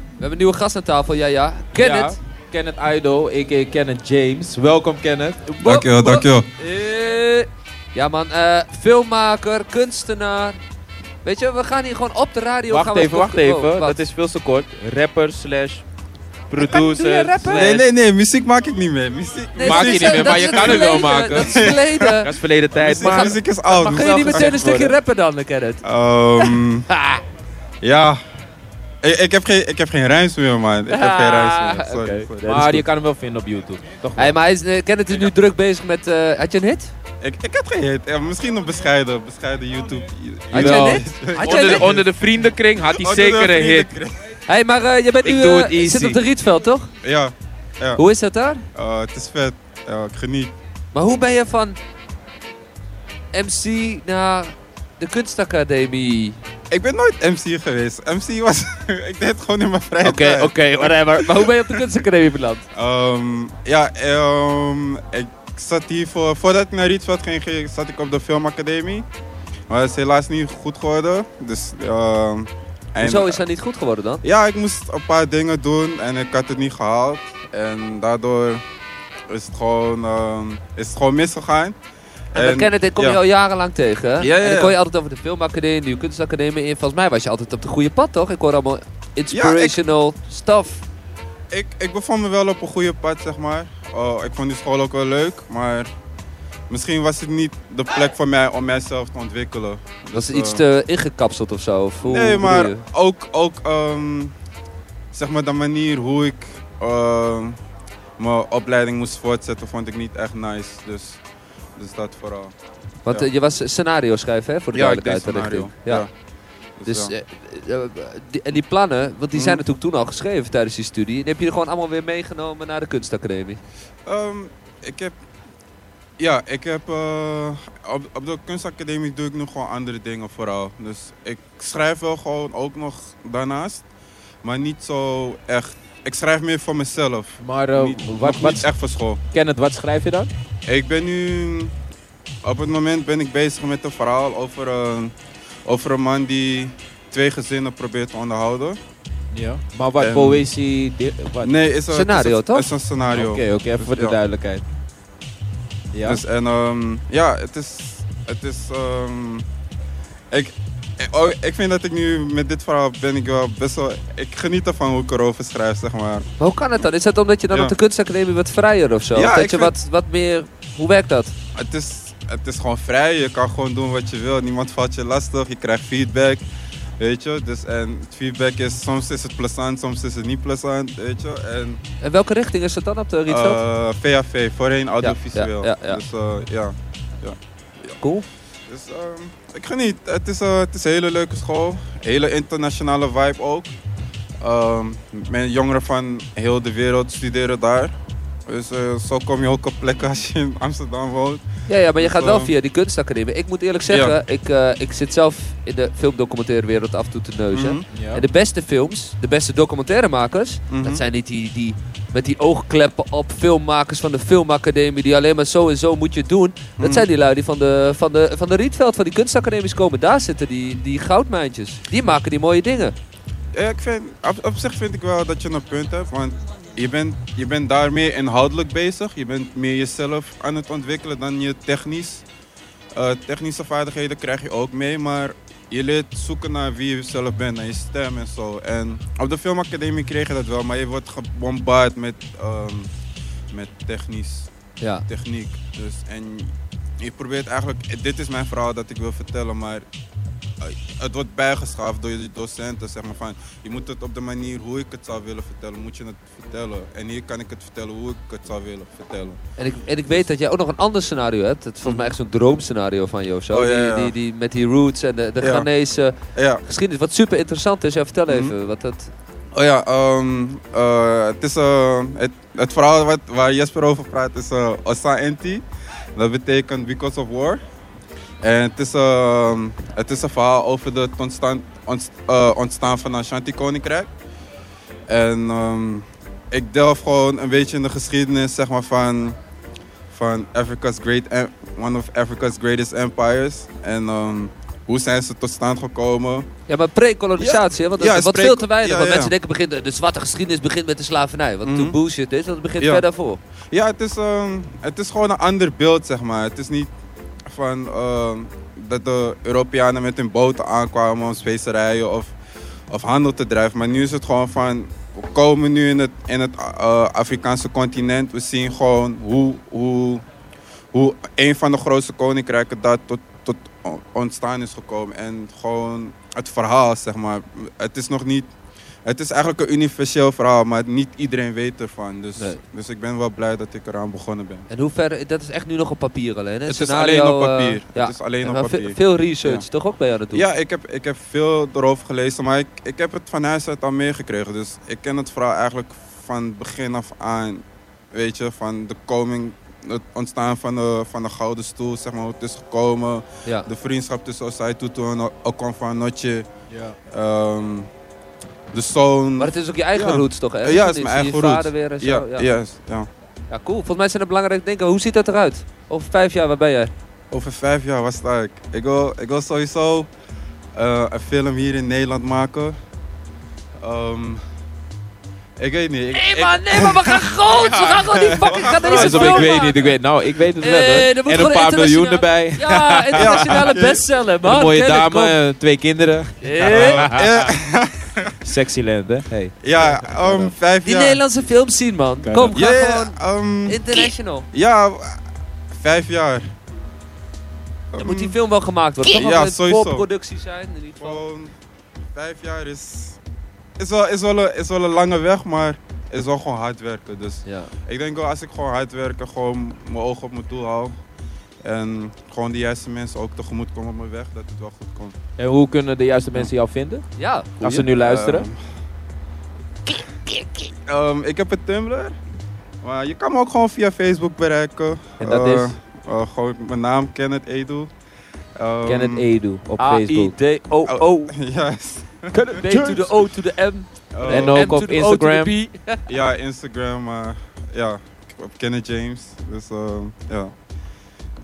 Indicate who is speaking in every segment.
Speaker 1: hebben een nieuwe gast aan tafel, ja ja. Kenneth.
Speaker 2: Kenneth Idol, a.k.a. Kenneth James. Welkom Kenneth.
Speaker 1: Bo-
Speaker 3: Dankjewel,
Speaker 1: bo-
Speaker 3: dankjewel.
Speaker 1: Eh, Ja man, eh, filmmaker, kunstenaar. Weet je, we gaan hier gewoon op de radio... gaan
Speaker 2: Wacht
Speaker 1: we
Speaker 2: even, wacht
Speaker 1: terug-
Speaker 2: even.
Speaker 1: Oh, wat?
Speaker 2: Dat is veel te kort. Rapper slash producer slash...
Speaker 3: Nee, nee, nee, muziek maak ik niet meer. Muziek,
Speaker 1: Nee,
Speaker 2: Maak
Speaker 1: dat
Speaker 2: je
Speaker 1: is-
Speaker 2: niet meer,
Speaker 1: dat
Speaker 2: maar
Speaker 1: is
Speaker 2: je kan het wel
Speaker 1: verleden,
Speaker 2: maken.
Speaker 1: Dat is verleden.
Speaker 2: Dat is verleden tijd.
Speaker 3: muziek,
Speaker 2: Maar
Speaker 3: muziek is oud.
Speaker 1: Kun je niet meteen een stukje rappen dan, eh, Kenneth?
Speaker 3: Ehm,
Speaker 2: Ah.
Speaker 3: ja. Ik, ik, heb geen, ik heb geen ruimte meer, man. Ik heb geen ruimte meer. Sorry,
Speaker 2: Ah, Oké,
Speaker 3: sorry.
Speaker 2: maar je kan hem wel vinden op YouTube. Toch wel.
Speaker 1: Hey, maar hij is, eh, Kenneth is nu druk bezig met... eh, had je een hit?
Speaker 3: Ik, ik heb geen hit. Eh, misschien een bescheiden, bescheiden YouTube.
Speaker 1: Had jij
Speaker 2: Jawel.
Speaker 1: dit? Had jij
Speaker 2: Onder de,
Speaker 1: dit?
Speaker 2: onder de vriendenkring had hij
Speaker 3: Oh, dat is
Speaker 2: zeker een hit.
Speaker 3: vriendenkring.
Speaker 1: Hey, maar eh, je bent
Speaker 2: Ik
Speaker 1: nu...
Speaker 2: doe
Speaker 1: eh,
Speaker 2: het
Speaker 1: je zit
Speaker 2: easy.
Speaker 1: op de Rietveld, toch?
Speaker 3: Ja, Ja.
Speaker 1: Hoe is dat daar?
Speaker 3: eh, het is vet. Ja, ik geniet.
Speaker 1: Maar hoe ben je van MC naar de kunstacademie?
Speaker 3: Ik ben nooit MC geweest. MC was... ik deed het gewoon in mijn vrije
Speaker 2: Oké,
Speaker 3: tijd.
Speaker 2: oké, whatever.
Speaker 1: Maar hoe ben je op de kunstacademie beland?
Speaker 3: Ehm, ja, ehm, ik zat hier voor, voordat ik naar Rietveld ging, ging- zat ik op de filmacademie. Maar het is helaas niet goed geworden. Dus, ehm, en-
Speaker 1: Hoezo is dat niet goed geworden dan?
Speaker 3: Ja, ik moest een paar dingen doen en ik had het niet gehaald. En daardoor is het gewoon, ehm, is het gewoon misgegaan.
Speaker 1: En, we kennen dit, kom je
Speaker 3: ja.
Speaker 1: al jarenlang tegen. hè?
Speaker 3: Ja, ja,
Speaker 1: En dan
Speaker 3: ja.
Speaker 1: kon je altijd over de filmacademie, de kunstacademie. En volgens mij was je altijd op de goede pad, toch? Ik hoor allemaal inspirational stuff.
Speaker 3: Ik, ik bevond me wel op een goede pad, zeg maar. Oh, ik vond die school ook wel leuk, maar misschien was het niet de plek voor mij om mijzelf te ontwikkelen.
Speaker 1: Was het
Speaker 3: eh,
Speaker 1: iets te ingekapseld of zo? Of hoe
Speaker 3: Nee,
Speaker 1: bedoel
Speaker 3: maar
Speaker 1: je?
Speaker 3: ook, ook ehm, zeg maar de manier hoe ik ehm, mijn opleiding moest voortzetten, vond ik niet echt nice. Dus, dus dat vooral.
Speaker 1: Want
Speaker 3: ja.
Speaker 1: eh, je was scenario schrijven, hè? Voor de duidelijkheid. de richting. Ja. Dus,
Speaker 3: ja.
Speaker 1: eh, eh, die- en die plannen, want die zijn
Speaker 3: Mhm.
Speaker 1: natuurlijk toen al geschreven tijdens die studie. En heb je er gewoon allemaal weer meegenomen naar de kunstacademie.
Speaker 3: Ehm, ik heb, ja, ik heb eh, op, op de kunstacademie doe ik nog gewoon andere dingen vooral. Dus ik schrijf wel gewoon ook nog daarnaast, maar niet zo echt. Ik schrijf meer voor mezelf.
Speaker 2: Maar eh,
Speaker 3: niet,
Speaker 2: wat,
Speaker 3: nog niet
Speaker 2: wat,
Speaker 3: echt voor school.
Speaker 2: Kenneth, wat schrijf je dan?
Speaker 3: Ik ben nu, op het moment ben ik bezig met een verhaal over een, over een man die twee gezinnen probeert te onderhouden.
Speaker 2: Ja. Maar wat
Speaker 3: Ehm,
Speaker 2: poëzie... di- wat-
Speaker 3: Nee, is een
Speaker 1: Scenario,
Speaker 3: is een-
Speaker 1: toch?
Speaker 3: Is een
Speaker 2: Oké,
Speaker 3: scenario.
Speaker 2: oké, even voor de
Speaker 3: Ja.
Speaker 2: duidelijkheid. Ja.
Speaker 3: Dus en ehm, ja, het is, het is, ehm, ik, ik- oh, ik vind dat ik nu met dit verhaal ben ik wel best wel, ik geniet ervan hoe ik erover schrijf, zeg maar.
Speaker 1: Maar hoe kan het dan? Is dat omdat je dan
Speaker 3: Ja.
Speaker 1: op de kunstacademie wat vrijer of zo? Of
Speaker 3: Ja,
Speaker 1: dat
Speaker 3: ik
Speaker 1: je
Speaker 3: vind-
Speaker 1: wat, wat meer... Hoe werkt dat?
Speaker 3: Het is, het is gewoon vrij, je kan gewoon doen wat je wil, niemand valt je lastig, je krijgt feedback, weet je. Dus en het feedback is, soms is het plezant, soms is het niet plezant, weet je. En
Speaker 1: En welke richting is dat dan op de Rietveld?
Speaker 3: eh, VAV, voorheen audiovisueel.
Speaker 1: ja, ja.
Speaker 3: Dus eh, ja.
Speaker 1: cool.
Speaker 3: Dus ehm, ik geniet. Het is, eh, het is een hele leuke school. Hele internationale vibe ook. Ehm, mijn jongeren van heel de wereld studeren daar. Dus eh, zo kom je ook op plekken als je in Amsterdam woont.
Speaker 1: Ja, ja, maar je
Speaker 3: Dus,
Speaker 1: gaat wel
Speaker 3: eh,
Speaker 1: via die kunstacademie. Ik moet eerlijk zeggen, ik, eh, ik zit zelf in de filmdocumentaire wereld af en toe te neuzen.
Speaker 3: Mhm.
Speaker 2: Ja.
Speaker 1: En de beste films, de beste documentairemakers,
Speaker 3: Mhm.
Speaker 1: dat zijn niet die, die met die oogkleppen op filmmakers van de filmacademie die alleen maar zo en zo moet je het doen. Dat
Speaker 3: Mhm.
Speaker 1: zijn die lui die van de, van, de, van de Rietveld, van die kunstacademies komen. Daar zitten die, die goudmijntjes. Die maken die mooie dingen.
Speaker 3: Ja, ik vind, op, op zich vind ik wel dat je een punt hebt. Want je bent, je bent daar meer inhoudelijk bezig. Je bent meer jezelf aan het ontwikkelen dan je technisch. Eh, technische vaardigheden krijg je ook mee. Maar je leert zoeken naar wie je zelf bent. Naar je stem en zo. En op de filmacademie kreeg je dat wel. Maar je wordt gebombardeerd met, ehm, met technisch
Speaker 1: Ja.
Speaker 3: techniek. Dus, en je probeert eigenlijk, dit is mijn verhaal dat ik wil vertellen, maar eh, het wordt bijgeschaafd door je docenten. Zeg maar, van, je moet het op de manier hoe ik het zou willen vertellen, moet je het vertellen. En hier kan ik het vertellen hoe ik het zou willen vertellen.
Speaker 1: En ik, en ik weet dat jij ook nog een ander scenario hebt. Dat is volgens mij echt zo'n droomscenario van je of zo.
Speaker 3: Oh, ja, ja.
Speaker 1: Die, die, die, met die roots en de, de
Speaker 3: Ja.
Speaker 1: Ghanese
Speaker 3: Ja,
Speaker 1: geschiedenis. Wat super interessant is. Ja, vertel
Speaker 3: Mhm.
Speaker 1: even wat dat...
Speaker 3: oh ja, ehm, eh, het, is, eh, het, het verhaal wat, waar Jesper over praat is eh Osa Enti. Dat betekent Because of War. En het is, ehm, het is een verhaal over het ontstaan, ontst- eh, ontstaan van Ashanti Koninkrijk. En ehm, ik delf gewoon een beetje in de geschiedenis zeg maar, van, van Africa's great, em- one of Africa's greatest empires. En ehm, hoe zijn ze tot stand gekomen?
Speaker 1: Ja, maar pre-kolonisatie, hè, want dat
Speaker 3: Ja,
Speaker 1: is wat
Speaker 3: pre-
Speaker 1: veel te weinig.
Speaker 3: ja,
Speaker 1: want
Speaker 3: ja.
Speaker 1: mensen denken, begint, de- de zwarte geschiedenis begint met de slavernij. Wat toen
Speaker 3: Mhm.
Speaker 1: bullshit is, dat begint
Speaker 3: Ja.
Speaker 1: ver daarvoor.
Speaker 3: Ja, het is, ehm, het is gewoon een ander beeld, zeg maar. Het is niet van ehm, dat de Europeanen met hun boten aankwamen om specerijen of, of handel te drijven. Maar nu is het gewoon van, we komen nu in het, in het eh, Afrikaanse continent. We zien gewoon hoe, hoe, hoe een van de grootste koninkrijken daar tot, tot on- ontstaan is gekomen. En gewoon het verhaal, zeg maar. Het is nog niet... Het is eigenlijk een universeel verhaal, maar niet iedereen weet ervan. Dus,
Speaker 1: Nee.
Speaker 3: dus ik ben wel blij dat ik eraan begonnen ben.
Speaker 1: En hoe ver, dat is echt nu nog op papier alleen. Hè?
Speaker 3: Het is
Speaker 1: Scenario,
Speaker 3: alleen op
Speaker 1: eh,
Speaker 3: papier.
Speaker 1: ja.
Speaker 3: Het is alleen
Speaker 1: En
Speaker 3: op
Speaker 1: wel ve-
Speaker 3: papier.
Speaker 1: Veel research
Speaker 3: Ja.
Speaker 1: toch ook bij jou aan het doen?
Speaker 3: Ja, ik heb, ik heb veel erover gelezen, maar ik, ik heb het van huis uit al meegekregen. Dus ik ken het verhaal eigenlijk van begin af aan. Weet je, van de koming, het ontstaan van de, van de Gouden Stoel, zeg maar, hoe het is gekomen.
Speaker 1: Ja.
Speaker 3: De vriendschap tussen Osai Tutu en O- Okonfa-Notje.
Speaker 2: Ja.
Speaker 3: ehm, de zoon.
Speaker 1: Maar het is ook je eigen
Speaker 3: Ja.
Speaker 1: roots toch? Hè?
Speaker 3: Eh, ja, het is
Speaker 1: niet?
Speaker 3: mijn eigen
Speaker 1: je
Speaker 3: roots.
Speaker 1: vader weer en zo.
Speaker 3: ja,
Speaker 1: Ja,
Speaker 3: yes, ja.
Speaker 1: Ja, cool. Volgens mij zijn het belangrijk denken. Hoe ziet dat eruit? Over vijf jaar, waar ben jij?
Speaker 3: Over vijf jaar, was sta ik? Ik wil, ik wil sowieso eh, een film hier in Nederland maken. Ehm, ik weet niet. Ik, ik-
Speaker 1: Nee man, nee man, we gaan groot! We gaan gewoon die fucking Ghanese
Speaker 2: Alsof
Speaker 1: film
Speaker 2: dus ik weet
Speaker 1: maken.
Speaker 2: niet, ik weet nou, ik weet het wel.
Speaker 1: Eh,
Speaker 2: hoor.
Speaker 1: dat moet
Speaker 2: en een
Speaker 1: gewoon
Speaker 2: paar miljoen
Speaker 1: internationaal-
Speaker 2: erbij.
Speaker 1: Ja, internationale bestseller man.
Speaker 2: Een mooie
Speaker 1: Ken ik, kom.
Speaker 2: dame, eh, twee kinderen.
Speaker 1: Eh,
Speaker 3: Eh,
Speaker 2: Sexyland, hè? Hey.
Speaker 3: ja, om vijf
Speaker 1: Die
Speaker 3: jaar.
Speaker 1: Nederlandse films zien man.
Speaker 2: Kijk.
Speaker 1: Kom,
Speaker 3: Ja,
Speaker 1: ga
Speaker 3: ja,
Speaker 1: gewoon
Speaker 3: ehm,
Speaker 1: international.
Speaker 3: ja, w- vijf jaar.
Speaker 1: Dan
Speaker 3: Ehm,
Speaker 1: moet die film wel gemaakt worden. Toch
Speaker 3: Ja,
Speaker 1: wel een
Speaker 3: sowieso.
Speaker 1: voorproductie zijn in ieder geval.
Speaker 3: Gewoon vijf jaar is, is, wel, is, wel een, is wel een lange weg, maar is wel gewoon hard werken. Dus
Speaker 1: Ja.
Speaker 3: ik denk wel als ik gewoon hard werk en gewoon mijn ogen op mijn doel hou. En gewoon de juiste mensen ook tegemoet komen op mijn weg, dat het wel goed komt.
Speaker 2: En hoe kunnen de juiste mensen jou vinden?
Speaker 1: ja.
Speaker 2: Als ze nu luisteren.
Speaker 3: Ehm, ehm, ik heb een Tumblr. Maar je kan me ook gewoon via Facebook bereiken.
Speaker 2: En dat
Speaker 3: Eh,
Speaker 2: is?
Speaker 3: eh, gewoon mijn naam, Kenneth Edu. Ehm,
Speaker 4: Kenneth
Speaker 2: E-
Speaker 4: Edu op Facebook.
Speaker 3: Oh.
Speaker 2: A-I-D-O-O.
Speaker 3: Yes.
Speaker 1: B to the O to the M.
Speaker 3: Eh,
Speaker 2: En ook
Speaker 1: M
Speaker 2: op
Speaker 1: to the O to the
Speaker 2: Instagram.
Speaker 1: B.
Speaker 3: Ja, Instagram. maar ja, op Kenneth James. Dus ehm, ja.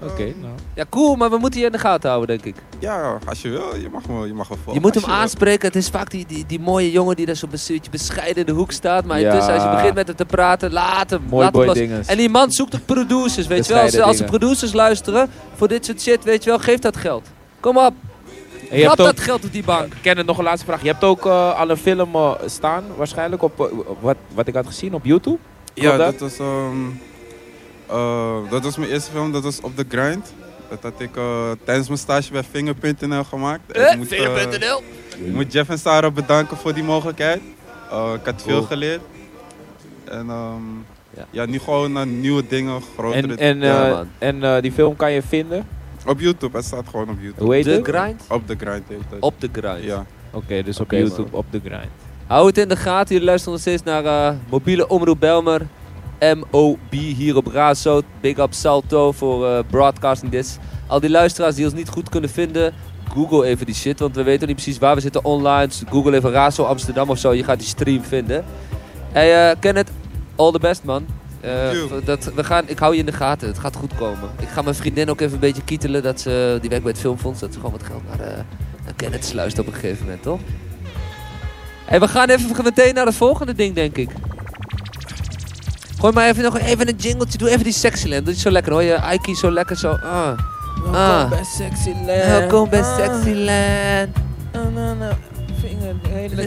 Speaker 2: Oké,
Speaker 3: Ehm,
Speaker 2: nou.
Speaker 1: Ja, cool, maar we moeten je in de gaten houden, denk ik.
Speaker 3: Ja, als je wil, je mag me, je mag me volgen.
Speaker 1: Je moet
Speaker 3: als
Speaker 1: hem
Speaker 3: wil.
Speaker 1: aanspreken. Het is vaak die, die, die mooie jongen die daar zo'n beetje bescheiden in de hoek staat. Maar
Speaker 2: Ja.
Speaker 1: intussen, als je begint met hem te praten, laat hem.
Speaker 2: Mooi
Speaker 1: laat hem
Speaker 2: boy
Speaker 1: los.
Speaker 2: dinges.
Speaker 1: En die man zoekt ook producers, weet je wel. Als,
Speaker 2: Bescheiden
Speaker 1: als de
Speaker 2: dingen.
Speaker 1: producers luisteren voor dit soort shit, weet je wel, geef dat geld. Kom op,
Speaker 2: En je
Speaker 1: klap
Speaker 2: hebt ook,
Speaker 1: dat geld op die bank.
Speaker 2: ik ken het nog een laatste vraag. Je hebt ook eh, al een film eh, staan, waarschijnlijk, op eh, wat, wat ik had gezien op YouTube.
Speaker 3: Ja,
Speaker 2: Klopt
Speaker 3: dat was, ehm, eh, dat was mijn eerste film, dat was Op The Grind. Dat had ik eh, tijdens mijn stage bij Finger.nl gemaakt.
Speaker 1: Eh,
Speaker 3: ik moet, eh,
Speaker 1: Vinger.nl.
Speaker 3: ik moet Jeff en Sarah bedanken voor die mogelijkheid. Eh, ik had veel
Speaker 2: Cool.
Speaker 3: geleerd. En ehm,
Speaker 1: Ja.
Speaker 3: ja. nu gewoon naar nieuwe dingen, grotere
Speaker 2: En, en,
Speaker 1: Ja,
Speaker 2: eh,
Speaker 1: man.
Speaker 2: en eh, die film kan je vinden.
Speaker 3: Op YouTube, het staat gewoon op YouTube.
Speaker 2: Hoe heet
Speaker 1: De
Speaker 2: het?
Speaker 1: grind?
Speaker 3: Op The Grind heet het.
Speaker 1: Op de grind.
Speaker 3: Ja.
Speaker 2: Oké, dus op
Speaker 1: Oké,
Speaker 2: YouTube,
Speaker 1: man.
Speaker 2: op de grind.
Speaker 1: Hou het in de gaten. Jullie luisteren nog steeds naar eh, mobiele Omroep Belmer. MOB hier op Razo. Big up Salto voor eh, broadcasting dit. Al die luisteraars die ons niet goed kunnen vinden, Google even die shit. Want we weten niet precies waar we zitten online. Dus Google even Razo Amsterdam of zo. Je gaat die stream vinden. Hey eh Kenneth, all the best man. Eh,
Speaker 3: Thank you.
Speaker 1: dat, we gaan, ik hou je in de gaten. Het gaat goed komen. Ik ga mijn vriendin ook even een beetje kietelen. Dat ze, die werkt bij het filmfonds. Dat ze gewoon wat geld naar eh, naar Kenneth sluist op een gegeven moment, toch? Hey, we gaan even meteen naar het volgende ding, denk ik. Gooi maar even nog even een jingletje. Doe even die sexy land. Dat is zo lekker hoor. Je Aiki zo lekker zo. Ah. Ah.
Speaker 4: Sexy
Speaker 1: Oh, Welkom bij Sexyland.
Speaker 4: Vinger, hele